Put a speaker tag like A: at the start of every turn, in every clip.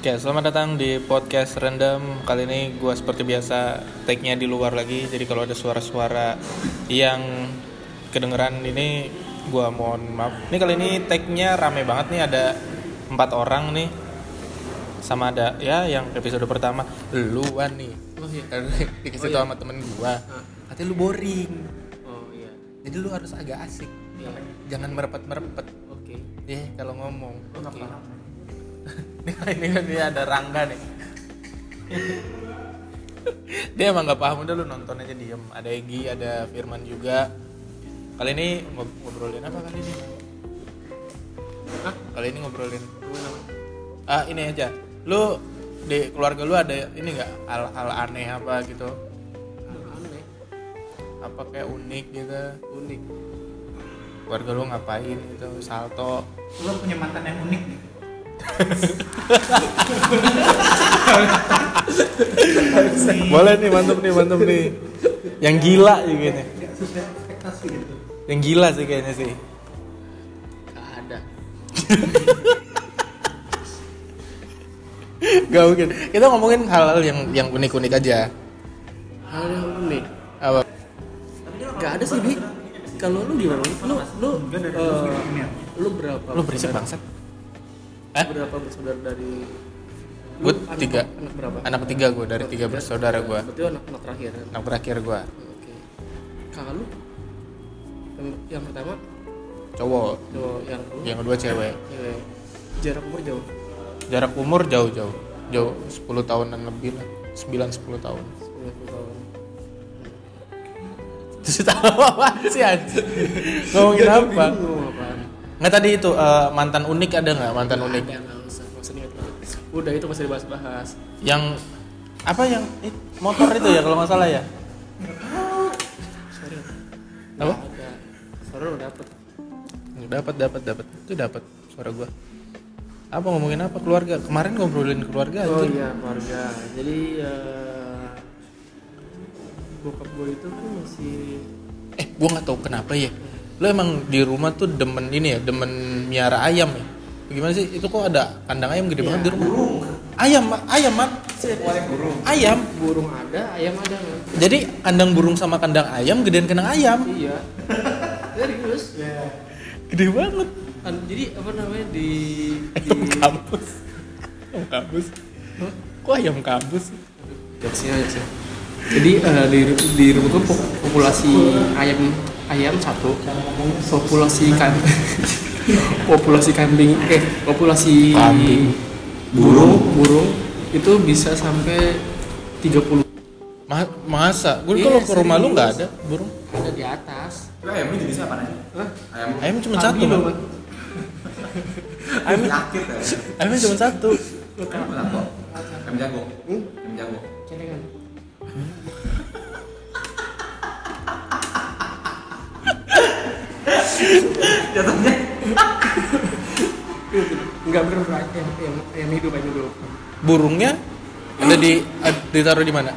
A: Oke, selamat datang di podcast Random. Kali ini gua seperti biasa take-nya di luar lagi. Jadi kalau ada suara-suara yang kedengeran ini gua mohon maaf. Ini kali ini take-nya rame banget nih ada empat orang nih. Sama ada ya yang episode pertama luan nih. Kan
B: Oh iya.
A: Dikasih tau sama temen gua.
B: Hah.
A: Oh, Ah. Katanya lu boring.
B: Oh iya.
A: Jadi lu harus agak asik.
B: Iya.
A: Jangan merepet-merepet.
B: Oke.
A: Ya, kalau ngomong.
B: Oke.
A: Nih, ini kan dia ada Rangga nih. dia emang nggak paham udah lu nonton aja diem. Ada Egi, ada Firman juga. Kali ini ngob- ngobrolin apa kali ini?
B: Hah?
A: Kali ini ngobrolin
B: Gimana? Mas?
A: ah ini aja. Lu di keluarga lu ada ini nggak hal, hal aneh apa gitu?
B: Ah, Aneh.
A: Apa kayak unik gitu?
B: Unik.
A: Keluarga lu ngapain gitu? Salto.
C: lo punya mantan yang unik nih
A: Boleh nih, mantep nih, mantep nih. Yang gila juga nih.
C: tidak sesuai ekspektasi gitu
A: Yang gila sih kayaknya sih.
B: Gak ada.
A: Gak mungkin. Kita ngomongin hal-hal yang yang unik-unik aja.
B: Hal yang unik.
A: Apa?
B: Gak ada sih bi. Kalau lu gimana? Lu lu eh, lu berapa?
A: Lu berisik bangsat. Eh?
B: Berapa bersaudara dari? lu
A: Gue
B: anak-
A: tiga.
B: Anak berapa?
A: Anak ketiga gue dari tiga bersaudara Nah. gue.
B: Berarti anak anak terakhir. kan?
A: Anak terakhir gue
B: Oke. Kakak lu yang, yang pertama
A: cowok,
B: cowok yang kedua
A: yang kedua cewek.
B: cewek. jarak umur jauh
A: Jarak umur jauh-jauh, jauh 10 tahunan lebih lah, 9-10 tahun.
B: 10 tahun.
A: Terus tahu apa sih anjir? Ngomongin apa?
B: Bingung apaan?
A: Nggak tadi itu eh, mantan unik ada nggak mantan unik?
B: Ada nggak usah, nggak usah diingat banget. Udah itu masih dibahas-bahas.
A: Yang apa yang eh, motor itu ya kalau nggak salah ya?
B: Sorry.
A: Apa?
B: Nggak Ada. Sorry udah dapet.
A: Dapat, dapat, dapat. Itu dapat suara gua. Apa ngomongin apa keluarga? Kemarin ngobrolin keluarga
B: Oh
A: anjir.
B: iya keluarga. Jadi eh bokap gue itu kan masih
A: Eh, gua nggak tahu kenapa ya. Lo emang di rumah tuh demen ini ya, demen miara ayam ya. Gimana sih? Itu kok ada kandang ayam gede banget di rumah? Ayam, Ma. ayam, Mat. Ayam.
B: burung ada, ayam ada kan?
A: Jadi kandang burung sama kandang ayam gedean kandang ayam.
B: Iya. Serius?
A: Gede banget.
B: Kan, jadi apa namanya di di
A: Ayam kampus. Ayam kampus. Kok ayam kampus?
B: Jaksnya, jaksnya. Jadi eh, di di rumah gue pop- populasi ayam ayam satu, populasi kambing, populasi kambing, eh populasi
A: Kambing.
B: burung burung itu bisa sampai 30
A: Ma masa? Gue
B: Iya,
A: kalau ke rumah lu
B: serius.
A: nggak ada burung.
B: ada di atas.
C: lo ayam ini jenisnya apa nih
B: Hah?
C: ayam
A: Ayam cuma satu,
B: Kambing
A: Mat.
B: loh,
A: Ayam
C: sakit ya
A: ayamnya cuma satu.
C: ayam apa ayam jago
B: Hmm?
C: ayam jago
B: Celengan.
C: jatuhnya
B: Enggak bener bener ayam, ayam, ayam hidup ayam hidup.
A: burungnya ada di ad- ditaruh di mana?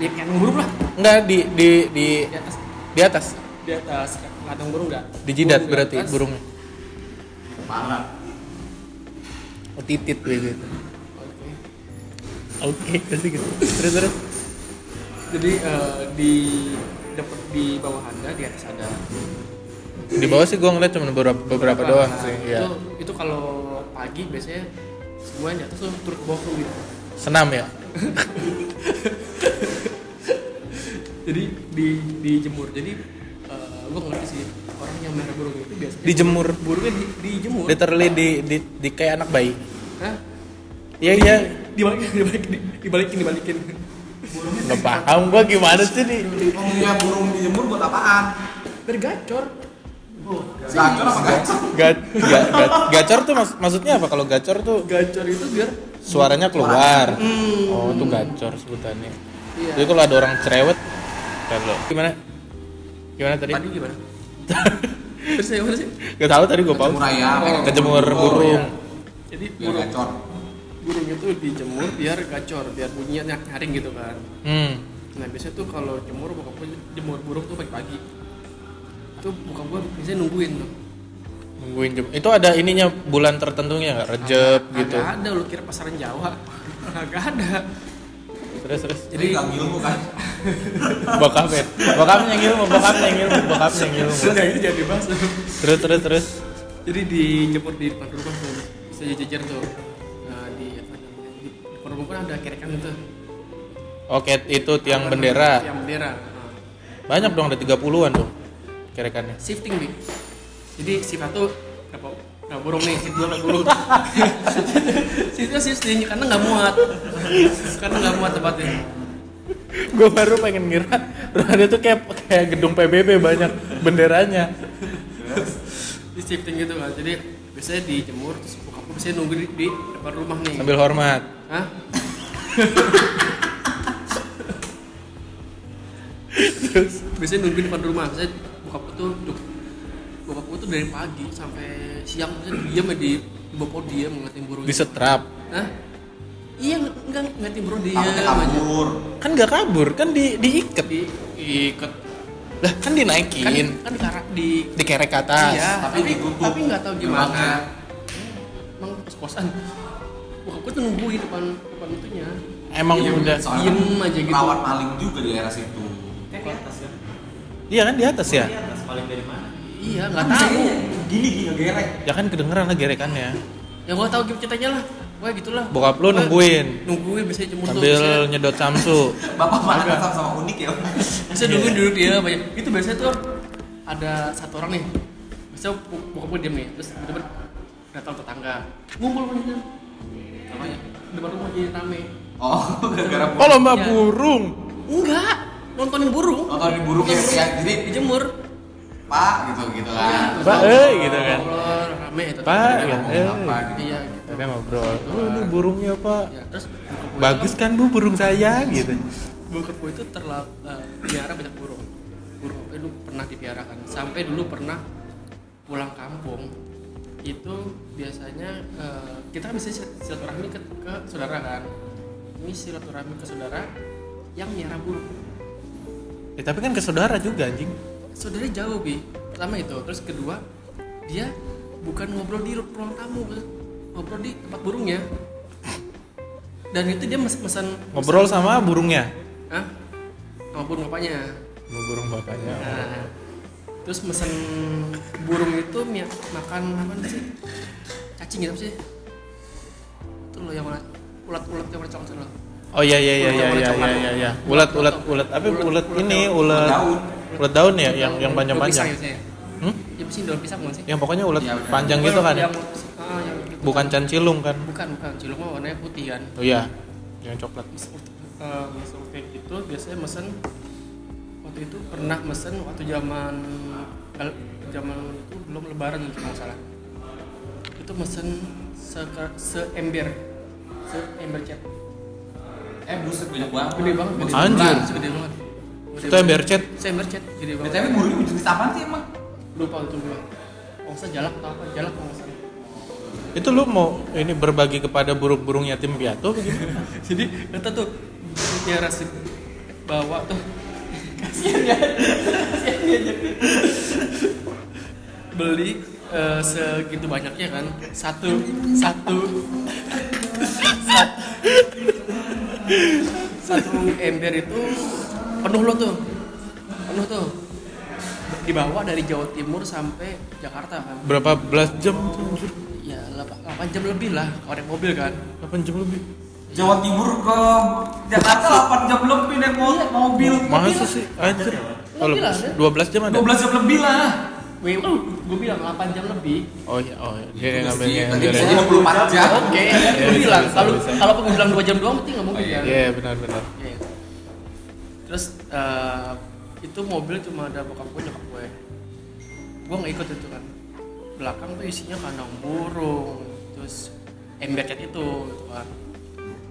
B: Ya kandang burung lah
A: Enggak di di di
B: di atas
A: di atas,
B: di atas kandang burung enggak?
A: di jidat
B: Burung di
A: berarti
B: atas.
A: burungnya.
C: parah
A: Oh, titit gitu.
B: Oke.
A: Oke, pasti gitu. Terus terus.
B: Jadi eh, di dapat di bawah anda di atas ada.
A: Di bawah sih gua ngeliat cuma beberapa beberapa doang
B: Nah,
A: sih,
B: Itu
A: ya.
B: itu kalau pagi biasanya semuanya terus lu turun ke bawah tuh gitu.
A: Senam ya.
B: Jadi di dijemur. Jadi eh, gua ngerti sih orang yang merah burung itu biasanya
A: Dijemur.
B: burungnya di, dijemur.
A: Literally di di, di kayak anak bayi.
B: Hah?
A: Iya iya.
B: Dibalikin, dibalikin, dibalikin, dibalikin.
A: Enggak paham gua gimana sih nih.
C: ngomongnya burung dijemur buat apaan
B: Bergacor.
C: gacor apa gacor
A: Ga, ga- ga- gacor tuh mas- maksudnya apa kalau gacor tuh
B: Gacor itu biar
A: suaranya keluar. Oh, itu gacor sebutannya.
B: Iya.
A: Jadi kalau ada orang cerewet, kalau gimana? Gimana tadi?
B: tadi gimana? Terus saya gimana sih? Iya.
A: Gak tahu tadi gue paus.
C: Kejemur ayam, eh,
B: Oh,
A: Kejemur
C: kejemur.
A: burung.
B: Jadi
C: ya
B: burung
C: gacor
B: burung itu dijemur biar gacor biar bunyinya nyak- nyaring gitu kan
A: Hmm.
B: nah biasanya tuh kalau jemur bokap gue jemur burung tuh pagi pagi itu bokap gue biasanya nungguin tuh
A: nungguin jem- itu ada ininya bulan tertentunya nggak rejeb
B: Agak-
A: gitu
B: agak ada lu kira pasaran Jawa agak ada
A: terus terus
C: Jadi nggak ngilmu kan?
A: bokapnya bokapnya yang ilmu bokapnya yang ilmu bokapnya yang ilmu
B: sudah ini jadi bahas
A: terus terus terus
B: jadi dijemur di depan rumah tuh bisa jejer tuh Eh, di apa namanya, di depan rumah pun ada kerekan itu
A: oke itu tiang
B: Apa namanya,
A: bendera
B: tiang bendera Nah,
A: banyak dong ada 30-an tuh kerekannya
B: shifting bi jadi shift satu berapa nggak burung nih shift dua nggak burung shiftnya shifting karena nggak muat karena nggak muat tempatnya
A: gue baru pengen ngira ada tuh kayak kayak gedung PBB banyak benderanya
B: di shifting gitu kan jadi biasanya dijemur terus bokap gue biasanya nunggu di, di depan rumah nih
A: sambil hormat
B: Hah? Terus biasanya nungguin depan rumah, saya buka gue tuh duduk. Buka gue tuh dari pagi sampai siang saya diam ya di di bawah podium ngeliatin burung.
A: disetrap
B: Hah? Iya enggak ngeliatin burung dia.
C: Takutnya kabur.
B: iya.
A: kan nggak kabur kan di diikat
B: Di ikat.
A: lah kan dinaikin
B: Kan kan karena di
A: dikerek ke atas
B: iya,
C: tapi
B: tapi
C: ditutup.
B: tapi nggak tahu
C: Gerbangnya.
B: gimana. Emang kos-kosan. Buka gue tuh nungguin depan depan itunya.
A: emang
C: Iya,
A: udah
C: soalnya
B: diem
C: kan
B: aja gitu.
C: Rawan maling juga di daerah situ.
D: Kan di atas kan?
A: iya kan di atas ya
D: Di atas paling dari mana?
B: Iya, nggak tahu.
D: Gini gini gerek.
A: ya kan kedengeran lah gerekannya
B: ya gua tahu gimana ceritanya lah gue gitulah
A: bokap lu
B: Gua
A: nungguin
B: nungguin biasanya jemur tuh
A: sambil
B: biasanya,
A: nyedot samsu
C: Bapak malah tetap sama unik ya.
B: biasanya nungguin duduk dia banyak itu biasanya tuh ada satu orang nih biasanya bu- bokap gue diem nih terus tiba-tiba datang tetangga ngumpul kan gitu namanya depan rumah jadi rame
C: Oh, gara-gara
A: oh lomba
B: Iya.
A: burung
B: enggak nontonin burung Iya,
C: nonton di burung ya, ya. Jadi
B: dijemur
C: Pak gitu gitu kan.
A: Pak, eh, gitu kan.
B: Ngobrol, rame itu
A: Pak,
C: Dia
A: ya,
C: ngomongin
A: eh.
C: apa gitu.
B: iya gitu
A: Mereka ngobrol oh, ini burungnya pak
B: ya terus bokap gua
A: bagus kan bu burung saya gitu
B: bokap gue itu terlalu piara banyak burung burung eh, dulu pernah dipiarakan sampai dulu pernah pulang kampung itu biasanya eh, kita kan biasanya sil- silaturahmi ke, ke saudara kan ini silaturahmi ke saudara yang miara burung
A: ya, tapi kan ke saudara juga anjing
B: saudara jauh bi pertama itu terus kedua dia bukan ngobrol di ruang tamu Bi. ngobrol di tempat burungnya dan itu dia mes- pesan
A: ngobrol sama burungnya
B: ah sama burung apanya
A: sama burung bapaknya
B: Nah, terus mesen burung itu mie, makan apa sih? Cacing gitu sih. Itu loh yang ulat ulat ulat yang warna coklat loh.
A: oh iya iya iya iya
B: Ulet,
A: iya
B: ulet,
A: iya iya ulat ulat ulat apa
B: Ulet,
A: ulat
B: ulet
A: ini
B: daun.
A: ulat
C: Daun.
A: ulat daun ya yang yang panjang panjang
B: Daun pisang ya.
A: hmm?
B: Ya pasti daun pisang bukan sih?
A: yang pokoknya ulat
C: Iya, bener.
A: panjang gitu kan ya?
B: Yang, ah, yang gitu.
A: bukan cancilung kan
B: bukan bukan cilok mah warnanya putih kan.
A: oh iya yang coklat
B: Mis- eh, Mesen kayak gitu biasanya mesen waktu itu pernah mesen waktu zaman kal- zaman itu belum lebaran kalau nggak salah itu mesen se seember seember cat
C: Eh buset banyak banget.
B: gede banget gede
A: Anjir.
B: banget, segede banget Gede
A: itu ember
B: banget.
A: cat
B: seember cat gede banget
C: BTW burung jenis apa sih emang?
B: lupa itu gua kalau nggak salah jalak atau apa jalak kalau nggak salah
A: itu lu mau ini berbagi kepada burung-burung yatim piatu apa gimana?
B: jadi kata tuh punya rasa bawa tuh kasihan ya kasihan dia jadi beli eh, segitu banyaknya kan satu satu sat- satu ember itu penuh lo tuh penuh tuh dibawa dari Jawa Timur sampai Jakarta kan
A: berapa belas jam tuh anjir?
B: ya 8 jam lebih lah kalau naik mobil kan
A: 8 jam lebih
C: Jawa Timur ke Jakarta 8 jam lebih naik
B: Iya.
C: mo- mobil.
A: masa sih anjir kalau
B: Mobil
C: ya?
B: ada.
A: 12 jam ada
C: 12 jam lebih lah.
B: Wih, gue bilang 8 jam lebih.
A: oh iya oh iya dia yang
C: Itu
A: ngambil
C: mesti,
A: yang
C: tadi
A: ambil
C: bisa
A: yang-
C: 24 jam.
B: Oke,
A: Iya,
B: gue
A: bisa,
B: bilang
A: bisa,
B: kalau
A: bisa.
B: kalau gue bilang 2 jam doang mesti nggak mungkin
C: Oh, iya.
B: kan.
A: iya benar-benar
B: Iya. Terus eh, itu mobil cuma ada bokap gue nyokap gue. Gue nggak ikut itu kan. Belakang tuh isinya kandang burung, terus ember cat itu gitu kan.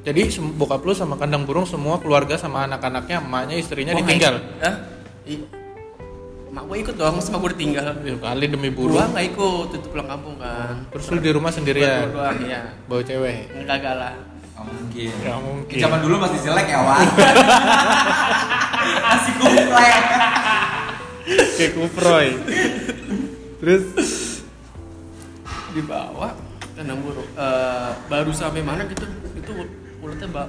A: jadi sem- bokap lu sama kandang burung semua keluarga sama anak-anaknya emaknya istrinya
B: Gua nggak
A: ditinggal
B: ikut. Hah? I- Mak gue ikut dong, sama gue ditinggal.
A: Ya, kali demi
B: Gue
A: burung Iya.
B: nggak ikut, itu pulang kampung kan.
A: terus lu di rumah
B: Berdua
A: sendirian
B: doang ya.
A: bawa cewek
B: Enggak galah.
C: Gak mungkin.
A: Nggak mungkin.
C: Zaman dulu masih jelek ya, Wak. Masih kuplek.
A: kayak kuproy terus
B: dibawa kandang burung Eh, baru sampai mana gitu itu ul- ulatnya mbak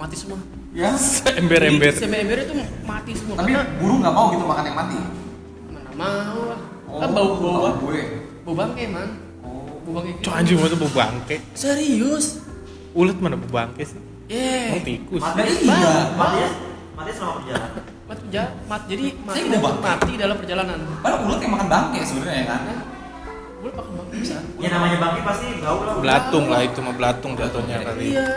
B: mati semua
C: Ya.
A: Ember-ember.
B: Jadi, sama ember itu mati semua
C: Tapi
B: karena
C: burung nggak mau gitu makan yang mati.
B: mana mau lah kan bau bau
C: tahu
B: bau-
C: gue.
B: bau bangke man
C: Oh.
B: bau bangke
A: Cok anjir masa bebangke.
B: gitu. serius
A: Ulet mana bebangke sih?
B: yeah
A: Mau tikus.
D: Mati.
C: Nah, iya.
D: Matinya, matinya selama perjalanan.
B: mati ja- mat jadi mati
C: bau
B: dalam,
C: bangke.
B: mati dalam perjalanan
C: Padahal ulat yang makan bangke sebenarnya ya kan.
B: boleh pakai bangke bisa
D: Ya namanya bangki pasti bau lah.
A: Belatung lah itu mah belatung jatuhnya kali.
B: iya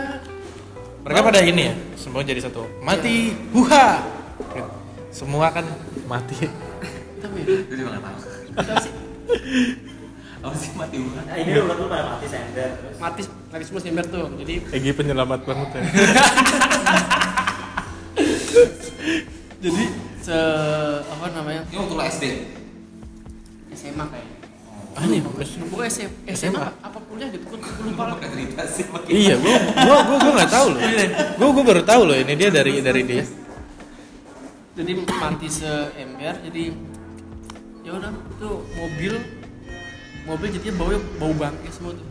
A: Mereka pada ini ya, semua jadi satu. Mati, huha. Semua kan mati.
B: tapi
C: Jadi makan tahu.
B: kita sih
C: Apa sih mati ulat?
D: Nah, ini ulat lu pada mati sender. Terus
B: mati mati semua si ember tuh jadi
A: Egi penyelamat banget ya.
B: jadi se apa namanya
C: Ini waktu lo SD.
B: SMA kayaknya
A: Anjir,
B: Bukan SM, SMA, apa kuliah gitu, gue gue lupa lah
C: Pakai cerita sih pakai.
A: Iya, gua gua gua gua enggak tahu loh. Gua gua baru tahu loh ini dia dari dari dia.
B: Jadi mati seember, jadi ya udah itu mobil mobil jadinya bau bau bangke semua tuh.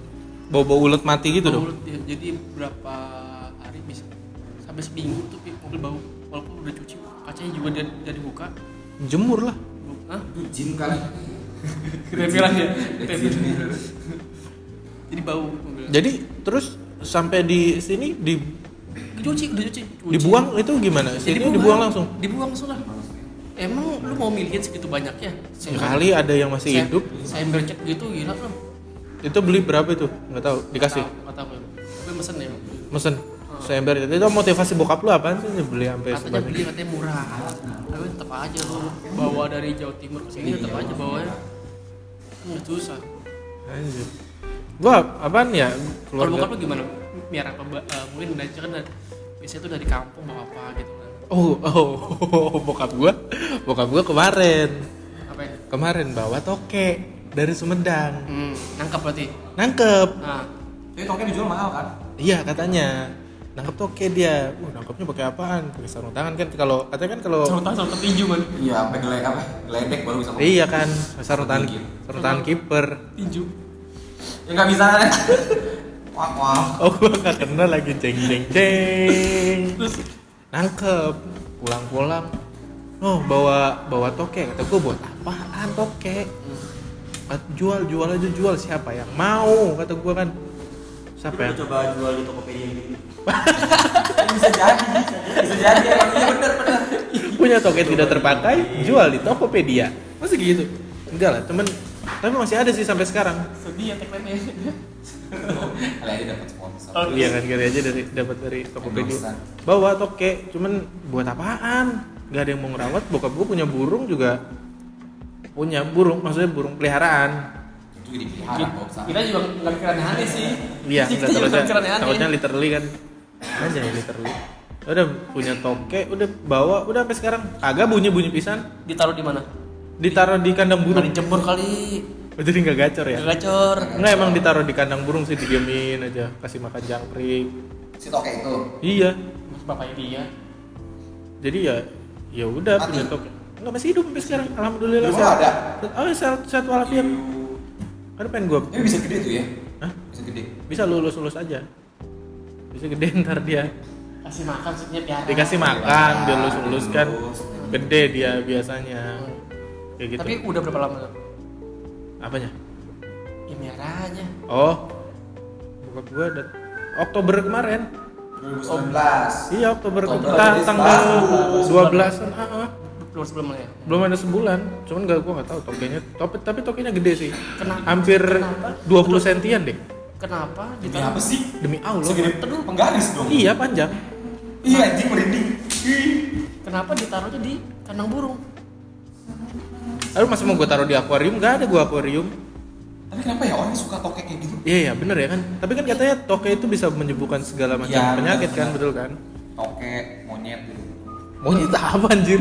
A: Bau-bau ulet mati gitu
B: Bau
A: dong.
B: mulut dia. Jadi berapa hari bisa sampai seminggu tuh Pi, mobil bau walaupun udah cuci kacanya juga dari, dari buka.
A: Jemur lah.
B: Hah?
C: Itu jin kali.
B: Ketempelan ya.
C: Ada
B: Ketempelan.
C: jinnya.
B: Jadi bau mobil.
A: Jadi terus sampai di sini di
B: Dicuci, udah cuci. Cuci.
A: dibuang itu gimana?
B: Ya,
A: Sini dibuang langsung.
B: Dibuang langsung lah. Emang lu mau milihin segitu banyaknya?
A: Sekali ada yang masih
B: Saya-
A: hidup,
B: saya bercek gitu gila lu
A: itu beli berapa itu? Nggak tahu, dikasih.
B: kata gue gue mesen ya
A: Mesen. Seember itu. Itu motivasi bokap lu apaan sih beli sampai
B: katanya
A: sebanyak?
B: beli katanya murah tapi tetap aja lu bawa dari Jawa Timur ke sini tetap aja bawanya kan nggak susah
A: Anjir. Gua apaan ya?
B: kalau
A: Keluarga.
B: bokap lu gimana biar apa Mbak? Eh, mungkin dari kan dari- biasanya tuh dari kampung bawa apa gitu kan
A: Oh, oh, bokap gua. Bokap gua kemarin.
B: apa ya
A: Kemarin bawa toke dari Sumedang.
B: hmm, nangkap berarti
A: Nangkep.
B: nah
C: Tapi toke dijual mahal kan?
A: Iya katanya nangkep toke dia. Uh, nangkepnya pakai apaan? Pakai sarung tangan kan kalau katanya kan kalau
B: sarung tangan sarung tinju man
C: Iya, sampai geledek apa? Geledek baru bisa. ngomong.
A: iya kan sarung tangan sarung tangan kiper.
B: tinju
C: Ya nggak bisa kan? Wah wah.
A: Oh gua nggak kenal lagi ceng ceng ceng. Terus nangkep pulang-pulang. Oh bawa bawa toke kata gua buat apaan toke? Kat- Jual jual aja jual siapa yang mau kata gua kan. Siapa
D: lu
A: yang
D: coba jual di Tokopedia gitu.
C: Bisa jadi. Bisa jadi. Iya bener bener.
A: punya token tidak terpakai jual di Tokopedia masih gitu enggak lah temen tapi masih ada sih sampai sekarang
B: sedih ya tagline nya
C: Kali aja dapat sponsor.
A: iya kan kira aja dari dapat dari Tokopedia
C: Endorsean.
A: bawa toke cuman buat apaan nggak ada yang mau ngerawat bokap gue punya burung juga punya burung maksudnya burung peliharaan
C: Itu jadi pilihan nggak usah.
B: kita juga nggak pikiran aneh sih
A: iya
B: kita
A: nggak
B: juga nggak
A: takutnya
B: pikiran
A: takutnya
B: aneh
A: literally kan aja ya literally udah punya toke udah bawa udah sampai sekarang agak bunyi bunyi pisan
B: ditaruh di mana
A: ditaruh di kandang burung
B: Nggak dijemur kali
A: Oh, jadi nggak gacor ya
B: gacor
A: Enggak emang ditaruh di kandang burung sih didiamin aja kasih makan jangkrik.
C: Si toke itu.
A: Iya.
B: Mas ya, bapaknya dia
A: Jadi ya ya udah
C: Mati.
A: punya toke. Enggak masih hidup sampai sekarang. Alhamdulillah.
C: Lu
A: sehat.
C: ada?
A: Oh, sehat sehat walafiat. Kan pengen gua
C: Ini bisa gede tuh ya.
A: Hah?
C: Bisa gede.
A: bisa lulus-lulus aja. Bisa gede ntar dia.
B: kasih makan maksudnya piara
A: Dikasih makan,
C: Iya,
A: dia lulus-lulus kan.
C: lulus.
A: Gede dia biasanya. Kayak gitu.
B: tapi udah berapa lama tuh
A: apanya?
B: ya miaranya
A: Oh. Bokap gua ada Oktober kemarin.
C: 2019.
A: Iya, Oktober,
C: Oktober,
A: tang-
C: jadi
A: tanggal
C: setahun.
A: 12-an. Heeh.
B: belum sebelum ya
A: ah. belum ada sebulan cuman gak gua nggak tahu tokenya tapi tapi tokenya gede sih
B: Kenapa?
A: hampir
B: Kenapa?
A: 20 sentian deh
B: kenapa
C: Ini
B: ditaruh
C: apa sih?
A: demi allah
C: Segede teduh penggaris dong.
A: iya panjang
C: Iya anjing merinding. Ih.
B: kenapa ditaruhnya di kandang burung
A: lalu masa mau gua taruh di akuarium gak ada gua akuarium
C: Tapi kenapa ya orang suka toke kayak gitu?
A: iya iya bener ya kan tapi kan katanya toke itu bisa menyembuhkan segala macam
C: Iya,
A: penyakit
C: bener,
A: kan
C: bener.
A: betul kan
C: Toke, monyet gitu.
A: monyet apa anjir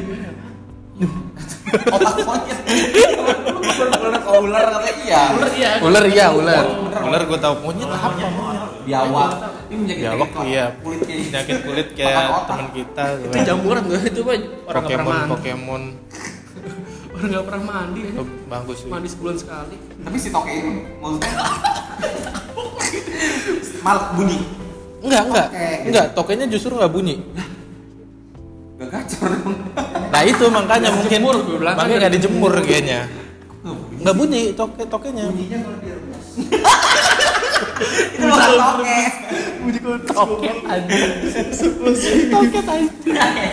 C: Otak monyet. Ular ular katanya iya.
B: iya
A: ular iya ular
C: Bener.
A: ular gua tahu monyet apa
D: Monyet mahal.
C: Biawak. Ini menjadi
A: Biawak, iya.
C: Kulit kayak gitu.
A: penyakit kulit
C: Makan
A: kayak
C: otak.
A: teman kita
B: itu jamuran tuh itu mah orang nggak pernah
A: Pokemon
B: makan.
A: Pokemon
B: nggak pernah mandi ya.
A: Oh, bagus sih.
B: mandi sebulan sekali
C: Tapi si toke itu maksudnya malah bunyi.
A: Enggak, enggak.
C: Oke.
A: Enggak, tokenya justru nggak bunyi.
C: Gak gacor dong.
A: Nah, itu makanya mungkin
B: Dijemur, gue bilang kan
A: makanya nggak dijemur kayaknya.
C: Nggak
A: Nggak bunyi toke tokenya.
C: Bunyinya kalau dia remes. Itu bukan toke.
B: bunyi toket aja toket aja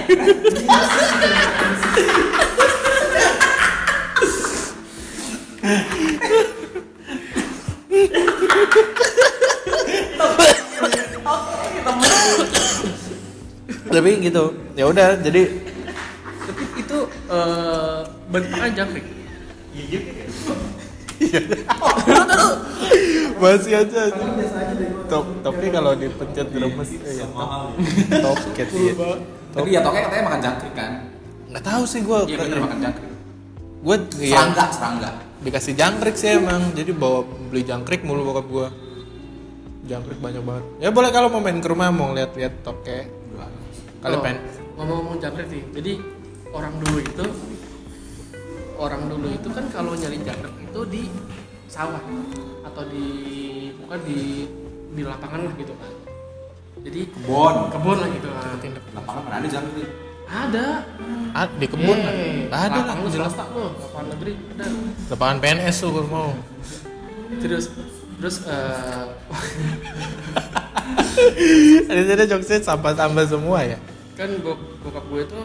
A: Tapi gitu. Ya udah, jadi
B: tapi itu eh bentangan jangkrik
D: Iya juga ya.
A: masih aja. Top, tapi kalau dipencet remes ya.
D: Mahal ya.
A: Toket iya.
C: Tapi ya toke katanya makan jangkrik kan.
A: Nggak tahu sih gua.
C: Iya bener makan jangkrik.
A: Gue
C: Serangga, serangga.
A: dikasih jangkrik sih emang jadi bawa beli jangkrik mulu bokap gua jangkrik banyak banget ya boleh kalau mau main ke rumah mau lihat-lihat toke kalau
B: Oh,
A: pengen
B: ngomong-ngomong jangkrik nih jadi orang dulu itu orang dulu itu kan kalau nyari jangkrik itu di sawah atau di bukan di di lapangan lah gitu kan jadi
C: Kebon.
B: kebun lah gitu kan
C: Lapangan mana ada jangkrik?
B: ada
A: ah, di kebun
B: Eh,
A: lah ada lah
B: lapangan lu
A: jelas
B: swasta lu lapangan negeri ada
A: lapangan PNS tuh gua mau
B: terus terus eh,
A: ada ada jokesnya sampah-sampah semua ya
B: kan bok- bokap gue itu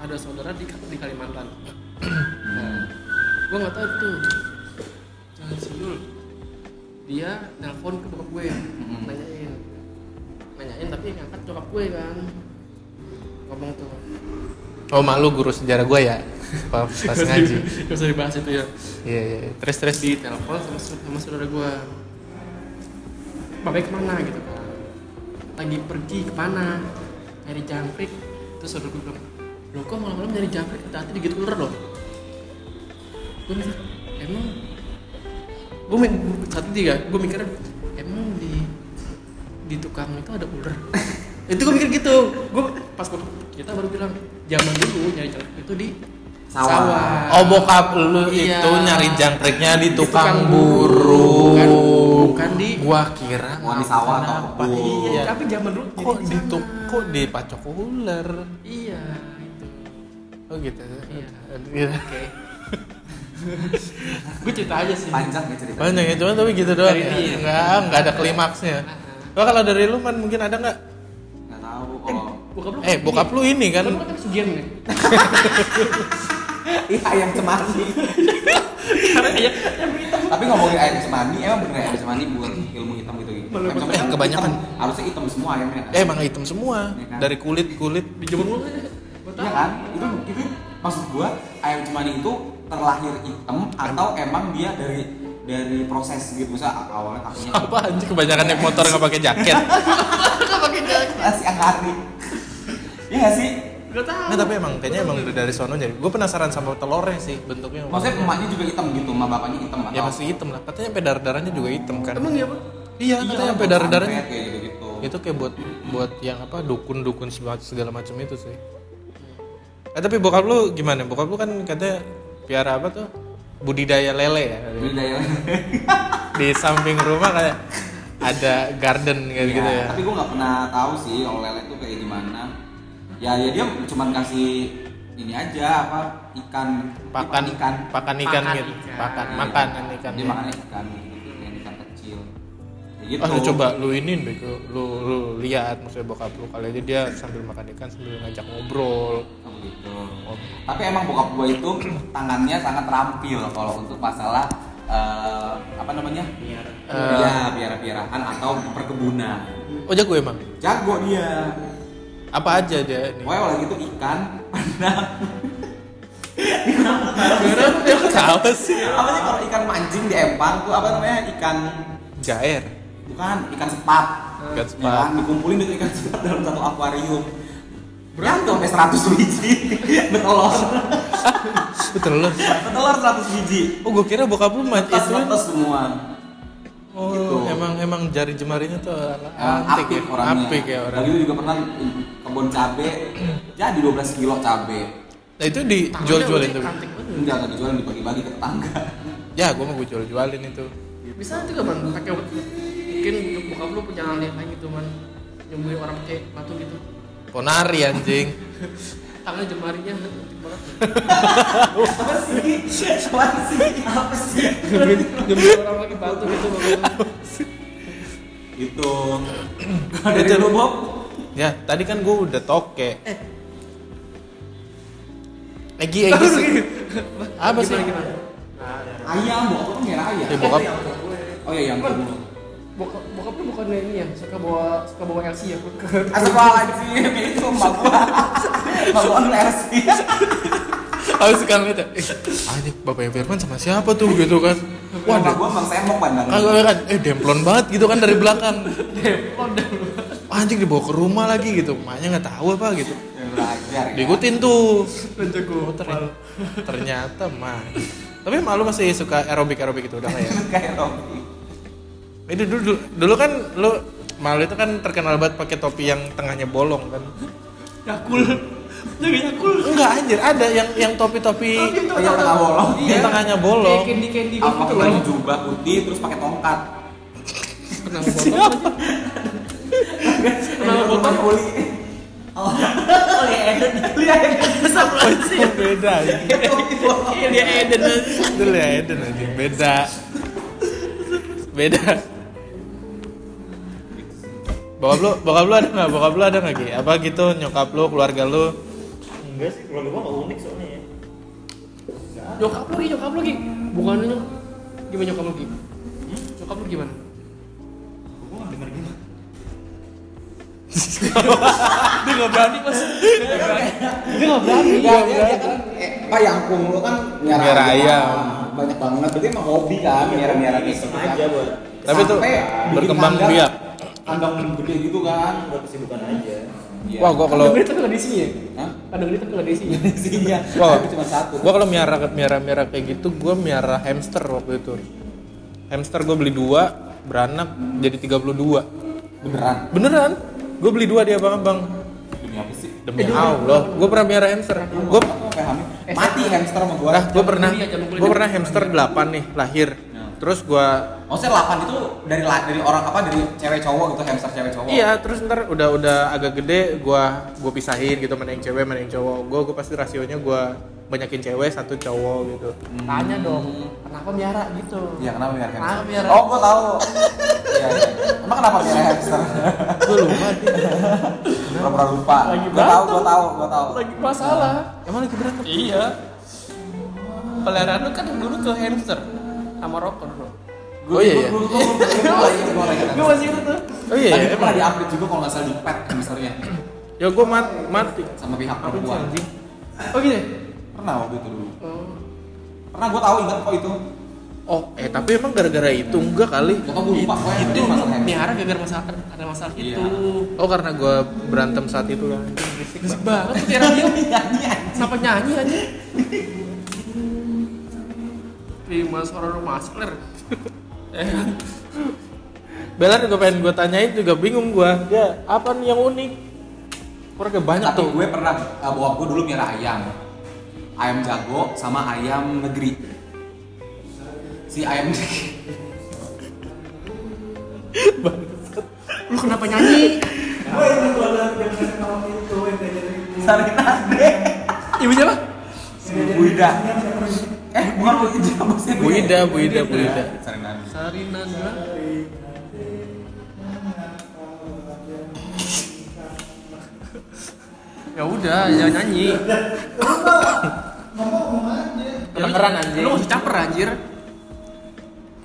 B: ada saudara di, di Kalimantan nah,
A: Hmm.
B: gue nggak tahu tuh jangan siul dia nelpon ke bokap gue nanyain nanyain tapi ngangkat bokap gue kan ngomong tuh
A: oh malu guru sejarah gua ya pas, pas ngaji
B: gak usah dibahas itu ya
A: iya iya terus terus
B: di telepon sama, su- sama saudara gue Bapak kemana gitu kan lagi pergi kemana nyari jangkrik terus saudara gue bilang lo kok malam-malam nyari jangkrik hati digigit ular loh gue mikir emang gue mikir satu tiga gue ya." mikir emang di di tukang itu ada ular itu gue mikir gitu gue pas gue kita baru bilang zaman dulu nyari jangkrik itu di
C: Sawah.
A: oh bokap lu
B: Iya.
A: itu nyari jangkriknya di tukang,
B: tukang
A: burung
B: Bukan, bukan di-
A: gua kira
C: Mau di sawah atau
A: kenapa?
C: kebun.
A: Iya.
B: Iya, tapi zaman dulu
A: kok
B: jadi
A: di
B: sana.
A: tuk kok di pacok ular
B: Iya, itu.
A: Oh gitu.
B: Iya. Oke. gue cerita aja sih.
C: Panjang ya cerita.
A: Banyak ya, cuman tapi gitu doang.
B: Dari dia.
A: Enggak, enggak ada klimaksnya. Wah kalau dari lu man mungkin ada nggak?
C: Nggak tahu. Oh.
B: Bokap lu
A: Eh bokap lu ini
B: kan
A: kan
B: bokap lu kan sugian nih.
C: Ih ayam cemani.
B: Karena
A: iya.
B: kayak
C: Tapi ngomongin ayam cemani, emang bener ya, ayam cemani buat ilmu hitam gitu gitu.
B: Belum.
C: Ayam cemani
A: Eh, kebanyakan.
C: hitam. harusnya hitam semua ayamnya. kan?
A: eh, emang hitam semua
C: Iya kan?
A: dari kulit kulit.
B: di zaman dulu kan gua tahu.
C: Iya kan? Itu itu maksud gua ayam cemani itu terlahir hitam atau emang dia dari dari proses gitu Misal awalnya kakinya
A: Apa anjir kebanyakan naik motor nggak pakai jaket.
C: si angkari. Iya nggak sih?
B: Gak tahu.
A: Nggak tapi emang kayaknya emang udah dari sono jadi. Gue penasaran sama telurnya sih bentuknya.
C: Maksudnya emaknya juga hitam gitu, sama bapaknya hitam atau?
A: Ya pasti hitam lah. Katanya sampai darah darahnya juga hitam kan.
B: Emang iya, Pak?
A: Iya, katanya sampai darah darahnya.
C: kayak gitu gitu.
A: itu kayak buat buat yang apa dukun dukun segala macam itu sih eh tapi bokap lu gimana bokap lu kan katanya piara apa tuh budidaya lele ya di samping rumah kayak ada garden kayak gitu ya
C: Iya, Tapi gue nggak pernah tahu sih kalau lele tuh kayak gimana. Ya ya dia cuman kasih ini aja apa ikan
A: pakan
C: ikan Iya.
A: pakan ikan
B: Pakan
A: gitu
B: ikan.
A: pakan makanan ikan iya. gitu.
C: dia makan ikan yang ikan kecil. Ya gitu.
A: Oh, lu coba lu iniin bego, lu lu lihat maksudnya bokap lu kali aja dia sambil makan ikan sambil ngajak ngobrol.
C: Oh, gitu. Tapi emang bokap gue itu tangannya sangat terampil kalau untuk masalah eh, apa namanya?
D: Biar.
A: Eh.
C: ya biara-biaraan atau perkebunan.
A: Oh jago emang.
C: Jago dia.
A: Apa aja dia ini?
C: Pokoknya kalau gitu ikan, pandang,
A: Apa sih?
C: apa sih kalau ikan mancing di empang tuh apa namanya ikan
A: Jair.
C: bukan ikan sepat
A: Ikan
C: Ya
A: sepat.
C: kan? dikumpulin dengan ikan sepat dalam satu akuarium berapa tuh sampai 100 biji betelor
A: Betul lu.
C: betelor 100 biji
A: Oh gue kira bokap lu mati
C: tas
A: itu.
C: tas semua
A: Oh
C: Gitu.
A: emang emang jari jemarinya tuh ala-
C: Emang
A: antik
C: apik
A: ya,
C: orangnya
A: apik ya orang.
C: Dan itu juga pernah kebun cabe jadi 12 kilo cabe
A: Nah itu dijual-jualin tuh.
C: Enggak, enggak dijual, dibagi-bagi ke tetangga.
A: Ya gue mau gue jual-jualin itu.
B: bisa nanti gak man pakai mungkin bokap lu punya alien lain gitu man nyembunyi orang pakai batu gitu
A: Ponari anjing.
B: tangan jemarinya cantik banget
C: Apa sih? Apa sih? Apa sih?
B: nyembunyi nyembunyi orang lagi batu gitu
C: Itu. Gitu. Dari lu, Bob?
A: Ya tadi kan gue udah toke. Egi, Egi sih. Apa sih?
B: gimana, gimana?
D: Nah, ya.
C: Ayam, Bob. Lu ngira ayam.
A: Ya bokap.
C: Oh iya, yang dulu.
B: bokap bokap lu bukan ini ya suka bawa suka bawa LC ya ke
C: Astagfirullahaladzim, itu emak gua. Emak gua les.
A: Aku suka ngeliat ya. Eh, anjing bapaknya Firman sama siapa tuh gitu kan. Wah,
C: Emak gua emang semok pandang.
A: Kagak kagak, kan, eh demplon banget gitu kan dari belakang. Anjing dibawa ke rumah lagi gitu, maknya nggak tahu apa gitu.
C: Ya, Belajar ya.
A: Diikutin tuh. Oh,
B: ya?
A: ternyata, ternyata mah. Tapi malu masih suka aerobik aerobik gitu udah nggak ya.
C: Kayak Robi.
A: Ini dulu, dulu dulu kan lu malu itu kan terkenal banget pakai topi yang tengahnya bolong kan.
B: yakul jaga yakul
A: Enggak anjir, ada yang yang
B: Iya,
A: topi-topi
C: Oh, yang tengah bolong.
A: yang tengahnya
B: kayak
A: bolong.
B: candy candy
C: Apa
B: gitu
C: pakai
B: loh
C: jubah putih terus pakai tongkat.
B: kenapa botol Kenapa
C: Eh,
B: botol?
C: Uli. Oh, Uli
D: iya,
C: Eden. Uli Eden.
A: Oh, beda anjing.
C: Itu Uli bolong.
B: Iya, dia Eden
A: Itu lihat Eden anjing, beda. Beda. Bokap lu, bokap lu ada nggak? Bokap lu ada nggak Gi? Apa gitu nyokap lu, keluarga lu?
D: Enggak sih, keluarga gua nggak unik soalnya ya.
B: nyokap lu Gi, nyokap lu Gi. bukannya nyok- gimana nyokap lu Gi? nyokap lu gimana
D: Gua nggak dengar gimana.
B: dia nggak berani mas dia nggak berani dia nggak berani
C: Iya, dia, dia kan eh, Pak Yangkung lu kan miara
A: Miara ayam.
C: Banyak banget. Berarti emang hobi kan miara-miara gitu.
D: Iseng
C: kan.
D: aja Iya, buat
A: Tapi itu
C: Sampai bikin
A: berkembang
C: kandang-
A: biak.
C: Kandang gede gitu kan.
D: buat kesibukan aja.
C: Iya.
A: Wah, gua kalau
B: Kadang-kadang tuh nggak ada isinya ya?
C: Hah?
B: Kadang-kadang tuh nggak ada isinya
C: Isinya
A: Wah.
C: tapi cuma satu.
A: gua kalau miara miara miara kayak gitu, gua miara hamster waktu itu. Hamster gua beli dua, beranak jadi 32.
C: Beneran.
A: Beneran? Gua beli dua dia abang-abang.
C: Demi apa sih?
A: Demi Allah, gua pernah miara hamster. Gua
C: Apa pahami? Mati hamster sama gua.
A: Nah, gue pernah,
B: kuliah, jam ya, kuliah.
A: gue pernah hamster 8 nih lahir.
B: Ya.
A: Terus gue,
B: Oh.
C: Maksudnya 8 itu dari la- dari orang apa dari cewek cowok gitu hamster cewek cowok.
A: iya terus ntar udah udah agak gede, gue gue pisahin gitu mana yang cewek, mana yang cowok. Gue gue pasti rasionya gue banyakin cewek satu cowok gitu.
B: tanya dong kenapa miara gitu
C: Hmm. Iya kenapa miara hamster?
B: Kenapa miara?
C: Oh gua tahu. Iya iya. Emang kenapa miara hamster?
A: Gue lupa.
C: Pura-pura lupa.
B: Lagi
C: Gua tahu,
B: berantem.
C: gua tahu, gua tahu.
B: lagi masalah
A: Emang lagi berantem?
B: iya peliharaan lu kan dulu ke hamster sama rocker bro
A: Oh iya iya.
C: Gua gua gua gua ingat, gua ingat.
B: gue masih itu tuh
A: Oh iya
C: Tadi
A: iya.
C: pernah di-update juga kalau nggak salah di pet hamsternya
A: Ya gue mat mati.
C: sama pihak perempuan.
B: oh gitu ya?
C: Pernah waktu itu dulu.
B: Oh.
C: Pernah gua tahu ingat kok itu.
A: Oh eh tapi emang gara-gara itu enggak kali.
C: Gua gua lupa kok
B: itu
C: itu masalah hamster.
B: miara gara-gara masalah ada masalah gitu.
C: Iya.
B: itu
A: Oh karena gue berantem saat itu kan.
B: berisik banget tuh tiara dia
C: Nyanyi anjing.
B: Kenapa nyanyi aja? Terima suara lu maskler. Eh,
A: Belan juga pengen gue tanyain juga bingung gue. Ya apa nih yang unik? Keluarga banyak
C: Tapi
A: tuh.
C: gue pernah uh, bokap gue dulu miara ayam. Ayam jago sama ayam negeri. Si ayam negeri.
B: lu kenapa nyanyi?
D: Gue ini gua lah jangan tahun itu yang dari ribu.
B: Ibunya apa?
C: Bu Ida. Eh, bukan Bu Ida, maksudnya
A: Bu Ida, Bu Ida, Bu Ida.
C: Sarinadi.
B: Sarina Ya udah, jangan nyanyi.
A: Kedengeran, anjir.
B: Lu masih caper anjir.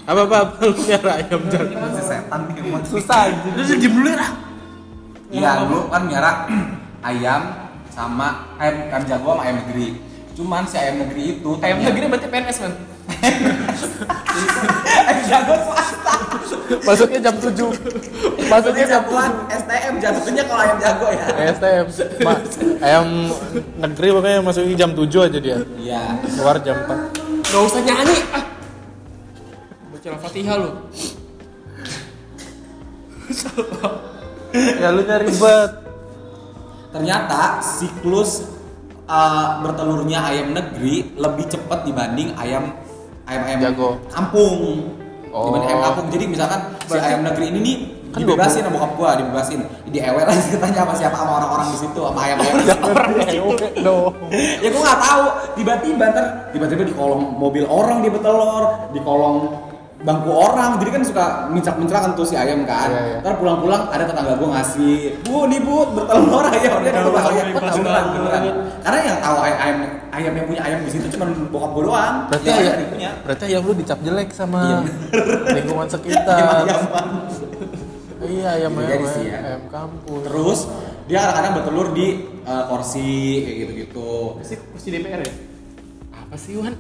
A: Apa apa apa lu nyara ayam jago.
C: Si setan nih yang mau-
A: Susah anjir.
B: Lu jadi diem dulu ya.
C: Iya, dulu kan miara ayam sama ayam, ayam jago sama ayam negeri. Cuman si ayam negeri itu
B: Ayam
C: ternyata-
B: negeri berarti PNS, Man.
C: ayam jago swasta.
A: Masuknya jam 7. Masuknya
C: Maksudnya
A: jam
C: jagoan STM jatuhnya kalau ayam jago ya.
A: STM. Ma, ayam negeri makanya masuknya jam 7 aja dia.
C: Iya.
A: Keluar jam 4.
B: Gak usah nyanyi. Ah. Baca Al-Fatihah lu.
A: Ya lu nyari bet.
C: Ternyata siklus eh, bertelurnya ayam negeri lebih cepat dibanding ayam ayam ayam
A: Jago.
C: kampung
A: Oh.
C: dibanding ayam kampung jadi misalkan si
B: Berarti-
C: ayam negeri ini nih
A: Kan
C: dibebasin sama bokap gua dibebasin diewer aja ceritanya sama siapa sama orang-orang di situ sama ayam ayam ya gua nggak tahu tiba-tiba ntar tiba-tiba di kolong mobil orang dia bertelur di kolong bangku orang jadi kan suka mencak mencerahkan tuh si ayam kan
A: Iya, iya.
C: ntar pulang-pulang ada tetangga gua ngasih bu nih bu bertelur ayam dia
D: Tahu,
C: tahu
D: tahu,
C: ayam
D: pas
C: beneran
D: tahu.
C: beneran karena yang tahu ay- ayam ayam yang punya ayam di situ cuma bokap gua doang
A: Berarti
C: Yang
A: ya,
C: ada punya
A: berarti ayam lu dicap jelek sama lingkungan sekitar.
C: ayam
A: Iya, ayam
C: Bisa
A: ayam,
C: jadi sih, ya.
A: ayam kampung.
C: terus dia kadang-kadang bertelur di eh, kursi kayak gitu-gitu
B: Pasti kursi DPR ya? Apa sih Wan?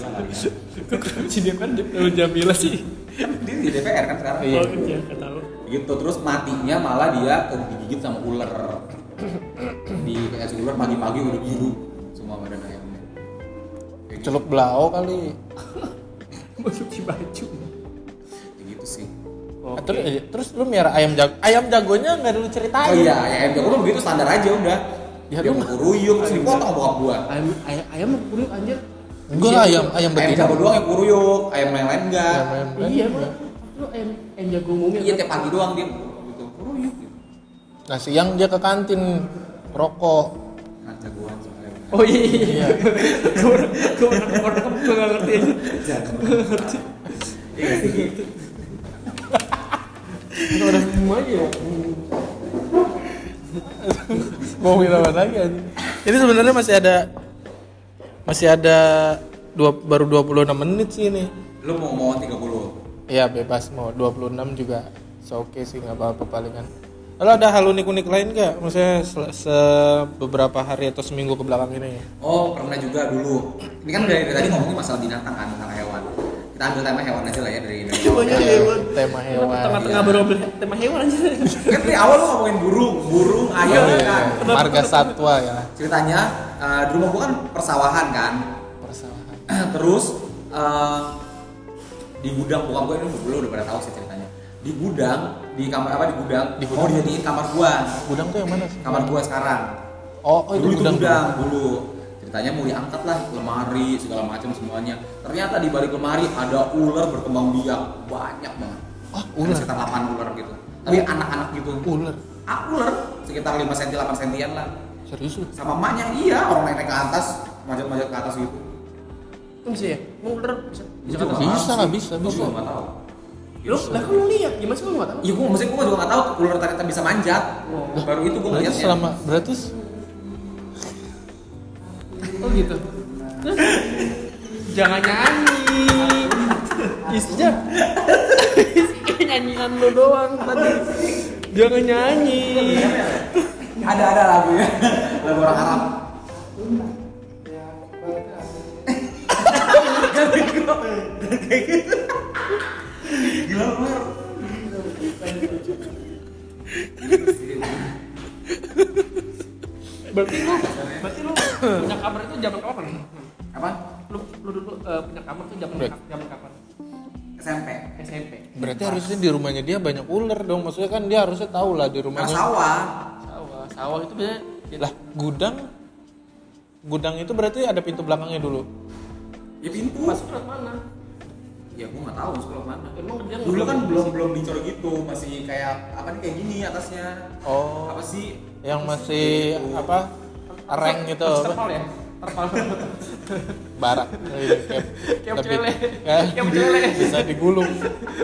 B: kursi DPR udah Jamila sih.
C: dia di DPR kan sekarang
A: Iya.
D: Oh, iya, nggak tahu.
C: gitu terus matinya malah dia digigit sama ular di kayak ular pagi-pagi udah biru semua badan ayamnya kayak gitu,
A: Celup belau kali.
B: Masuki baju.
C: kayak gitu sih
A: Ah, Terus, eh, terus lu miara ayam jago. Ayam jagonya nggak ada lu ceritain.
C: oh iya ya ayam jago tuh begitu standar aja udah
B: Ya,
C: dia
B: lu-
C: mau kuruyuk terus dipotong sama bokap gua
B: Ayam ayam ayam mau kulit anjir.
A: Enggak lah ayam ayam
C: ayam
A: betina.
C: jago doang yang kuruyuk ayam yang lain enggak
A: Ayam- ayam- ayam-
B: Iya, Mak. Lu ayam ayam jago mungil.
C: iya tiap pagi doang dia gitu kuruyuk gitu
A: Nah siang dia ke kantin rokok.
C: kan jagoan sama ayam
B: Oh iya iya.
A: Iya.
B: iya. Gue gue orang gue nggak ngerti aja.
C: jago iya nggak sih gitu
B: Itu ada semuanya ya.
A: Mau bilang apa lagi anjing? Ini sebenarnya masih ada masih ada dua, baru 26 menit sih ini.
C: lu mau mau 30
A: Iya bebas mau 26 juga. So oke sih nggak apa-apa palingan. Lalu ada hal unik-unik lain nggak? Maksudnya se, se- beberapa hari atau seminggu ke belakang ini?
C: Oh pernah juga dulu. Ini kan dari dari tadi ngomongin masalah binatang kan tentang hewan. Kita ambil tema hewan aja lah ya dari dari.
A: Iya,
D: Banyak hewan.
A: Tema hewan.
D: Tengah-tengah berobrol tema hewan aja.
C: Kan dari awal lu ngomongin burung, burung, ayam
A: Oh, iya,
C: kan.
A: iya. Marga satwa ya.
C: Ceritanya eh, di rumah gua kan persawahan kan.
A: Persawahan.
C: Terus eh, di gudang bukan gua ini dulu udah pada tahu sih ceritanya. Di gudang, di kamar apa di gudang?
A: Di
C: Mau
A: gudang.
C: dijadiin kamar gua.
A: Gudang tuh yang mana sih?
C: Kamar gua sekarang.
A: Oh, oh, itu
C: dulu itu
A: gudang.
C: gudang dulu ceritanya mau diangkat lah lemari segala macam semuanya ternyata di balik lemari ada ular berkembang biak banyak banget
A: Ah,
C: Ada
A: ular. Oh.
C: sekitar 8 ular gitu tapi anak-anak gitu
A: Ular.
C: ah, ular sekitar 5 cm 8 cm lah
A: Serius lu?
C: sama emaknya iya orang naik-naik ke atas manjat-manjat ke atas gitu
D: Bisa ya? Mau ular bisa.
C: bisa
A: Bisa, lah, bisa, bisa.
C: gue nggak tahu
D: Lu lah kan lu lihat gimana sih lu enggak tahu?
C: Iya, gue maksudnya gue juga nggak tahu ular ternyata bisa manjat. Baru itu gue
A: Oh. Berarti
C: ngeliatnya.
A: selama berarti s-
B: Oh gitu. Terus, Jangan nyanyi. Isinya isinya nyanyian lo doang tadi. Jangan nyanyi.
C: ada ada lagunya lagu ya. orang Arab gila lu Mer.
B: Berarti lu berarti lu punya kamar itu zaman kapan?
C: apa
B: Lu lu dulu eh, punya kamar itu zaman
A: Break.
B: zaman kapan?
C: SMP
B: SMP.
A: berarti harusnya di rumahnya dia banyak ular dong. Maksudnya kan dia harusnya tahu lah di
C: karena
A: rumahnya.
C: sawah
B: Sawah, sawah itu biasanya
A: Lah, gudang gudang itu berarti ada pintu belakangnya dulu.
C: ya pintu
B: masuk lewat mana?
C: ya gue nggak tahu sekolah mana
B: Emang dia
C: dulu kan belum belum dicor gitu masih kayak apa nih kayak gini atasnya
A: Oh,
C: apa sih
A: yang masih apa? Reng gitu.
B: Masih
A: apa?
B: terpal ya? Terpal.
A: Barak. Iya, kayak-
B: Kayak
A: tapi-
B: cele.
A: Eh,
B: Kayak cele.
A: Bisa digulung.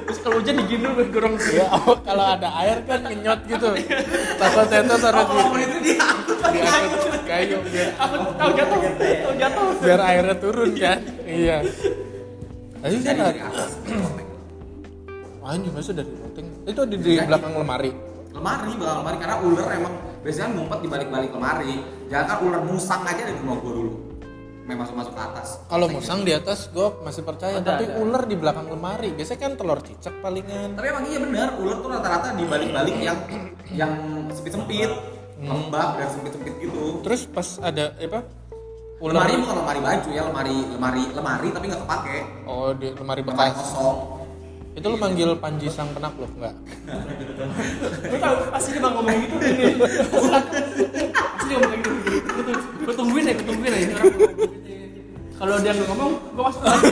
B: Terus kalau hujan digini dulu gorong.
A: Ya, oh, kalau ada air kan ngenyot gitu. Takut tetes taruh di
C: itu dia aku
A: diangkut kayu biar
B: Aku tahu jatuh, tahu jatuh.
A: biar airnya turun kan iya Ayo
C: jadi
A: kan
C: dari atas
A: anjing masa dari roteng itu di, di belakang lemari
C: lemari bakal lemari karena ular emang biasanya ngumpet di balik-balik lemari jangan kan ular musang aja dari rumah gua dulu main masuk-masuk ke atas gitu.
A: kalau musang di atas gue masih percaya
B: Ada,
A: tapi
B: ada.
A: ular di belakang lemari biasanya kan telur cicak palingan
C: tapi emang iya bener ular tuh rata-rata di balik-balik yang yang sempit-sempit
A: Hmm.
C: lembab dan sempit-sempit gitu
A: terus pas ada apa ular
C: lemari bukan lemari baju ya lemari lemari lemari tapi nggak kepake
A: oh di lemari bekas
C: lemari kosong
A: itu lu manggil Panji sang penakluk nggak
B: Gue tahu pasti dia bang ngomong gitu ini. Pasti dia ngomong kayak gitu. Gue tungguin aja, gue tungguin aja. Orang ngomong. Kalau dia nggak ngomong, gue masuk lagi.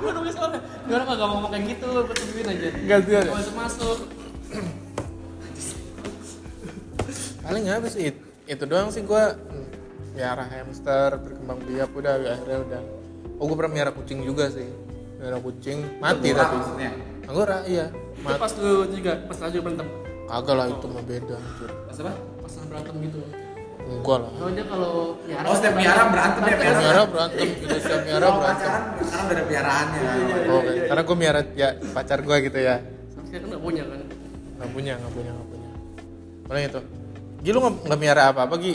B: Gue nungguin soalnya. Dia orang nggak ngomong kayak gitu, gue tungguin aja.
A: Gantian ya?
B: Gua Masuk masuk.
A: paling habis itu itu doang sih gue miara hamster berkembang biak udah akhirnya udah oh gue pernah miara kucing juga sih miara kucing mati
C: Tengkorak
A: tapi
C: maksudnya.
A: anggora iya
B: Itu
A: mati
B: pas lu juga, pas lagi berantem.
A: kagak lah itu mah beda anjir.
C: Pas apa?
B: Pas lagi berantem gitu.
A: enggak lah
B: Kalau dia kalau miara.
C: Oh, setiap miara berantem ya,
A: Setiap
C: miara.
A: miara berantem kita setiap miara
C: Kalau
A: berantem Oh,
C: pacaran, sekarang udah ada Iya, peliharaannya.
A: oke karena gue miara ya pacar gue gitu ya
B: Sampai sekarang nggak punya kan.
A: nggak punya nggak punya nggak punya paling itu Gi lu nggak nggak miara apa apa Gi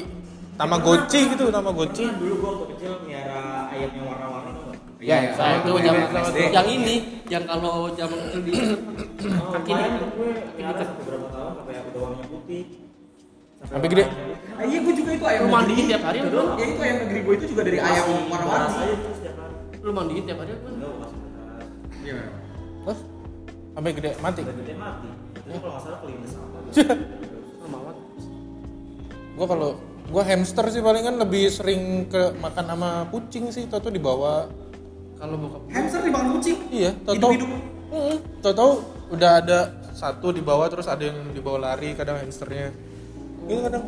A: Tamagotchi gitu Tamagotchi
D: dulu gua waktu kecil miara ayam yang warna-warni tuh nggak?
A: Ya,
C: Iya, iya.
B: Sama tuh
C: Sama
B: yang
C: sama SD.
B: yang ini, yang kalau zaman kecil di
D: Oh,
B: kaki
D: main
B: di-
D: gue miara sampai berapa tahun sampai udah warnanya putih
A: Sampai gede.
D: warnanya putih.
C: Ah, Iya, gue juga itu ayam
B: Lu
C: negeri.
B: mandiin Gitu tiap hari apa doang?
C: Ya itu ayam negeri gue itu juga dari ayam
D: Masih
C: warna-warni.
D: beras aja terus tiap hari
B: Lu mandiin tiap hari apa?
D: enggak gua masih beras
C: Iya.
A: terus sampai gede mati
D: udah gede mati itu kalau nggak salah kelindes apa
B: Lama amat.
A: gua kalau gua hamster sih paling kan lebih sering ke makan sama kucing sih toto dibawa
B: Kalau bokap
C: Hamster dimakan kucing.
A: iya toto
C: Hidup-hidup.
A: toto udah ada satu dibawa terus ada yang dibawa lari kadang hamsternya iya kadang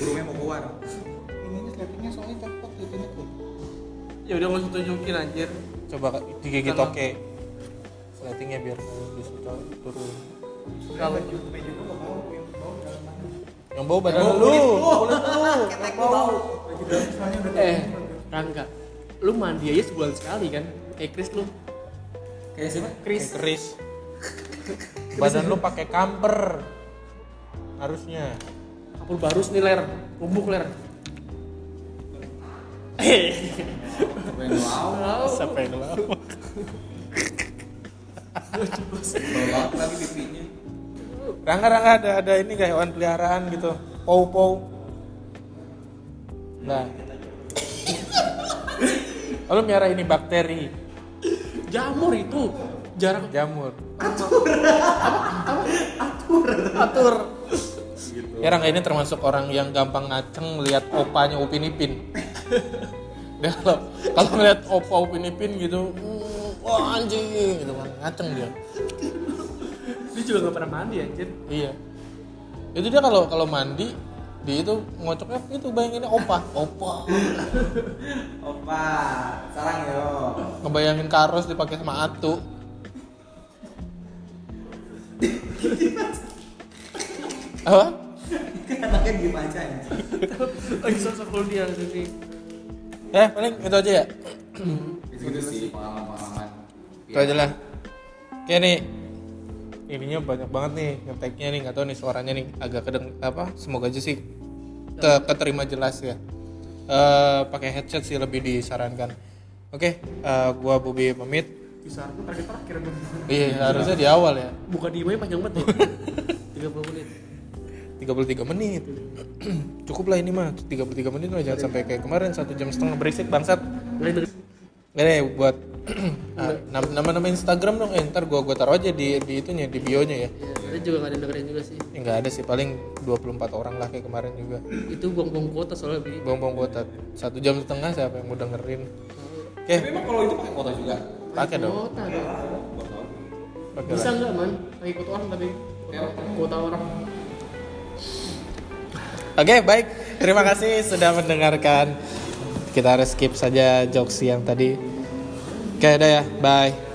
C: Burungnya mau keluar.
A: ininya slappingnya soalnya cepet gitu tuh
B: ya udah nggak usah tunjukin anjir.
A: coba gitu, Kak, digigit
B: Tenang.
A: oke slappingnya biar bisa turun
B: Kalau
A: yang bau badan lu
C: kulit lu. Ketek lu bau.
B: eh Rangga, lu mandi aja sebulan sekali kan? Kayak Chris lu.
C: Kayak siapa?
A: Kayak keris badan lu pakai kamper harusnya
B: Kapul barus nih ler, kumbuk ler.
C: Gue yang bau.
B: Wow.
A: sampai ngelawak
C: Bau banget lagi pipinya.
A: Rangga Rangga ada ada ini gak hewan peliharaan gitu. Pou pou. Nah. Lalu miara ini bakteri,
B: Jamur itu jarang
A: jamur.
B: atur.
A: Ya Rangga ini termasuk orang yang gampang ngaceng lihat opanya Upin Ipin. Dia kalau kalau ngeliat opa Upin Ipin gitu, "Mm, wah anjing gitu kan ngaceng dia.
B: Dia juga nggak pernah mandi anjir.
A: Iya. Itu dia kalau kalau mandi dia itu ngocoknya itu bayanginnya opa, opa.
C: Opa, sarang yo.
A: Ngebayangin karos dipakai sama atu. Apa?
C: Kan Anaknya diem aja anjing.
B: Lagi sosok dia sini.
A: Ya, paling itu aja ya.
C: Gitu sih pengalaman-pengalaman.
A: Itu aja lah. Oke nih. Ininya banyak banget nih ngeteknya nih, nggak tahu nih suaranya nih agak kedeng apa? Semoga aja sih ke keterima jelas ya. Eh pakai headset sih lebih disarankan. Oke, eh, gua Bobi pamit.
B: Bisa aku terakhir terakhir
A: Iya, harusnya di awal ya.
B: Buka di email panjang banget ya. 30 menit.
A: 33 menit cukup lah ini mah 33 menit lah jangan sampai kayak kemarin satu jam setengah berisik bangsat
B: Lain dari
A: Gede buat ah, nam- nama-nama Instagram dong eh, ntar gua gua taruh aja di di itunya di bionya ya
B: Ya, kita juga nggak ada yang dengerin juga sih.
A: enggak Ya, ada sih paling 24 orang lah kayak kemarin juga
B: Itu buang-buang kuota soalnya bi.
A: bong-bong kuota satu jam setengah siapa yang mau dengerin oke
C: Tapi emang kalau itu pakai kota juga.
A: pakai dong
B: Kuota Bi.
A: pakai
B: Bisa
A: lah
B: nggak man? Lagi kuota orang tapi kuota orang.
A: oke baik terima kasih sudah mendengarkan kita harus skip saja jokes yang tadi oke udah ya bye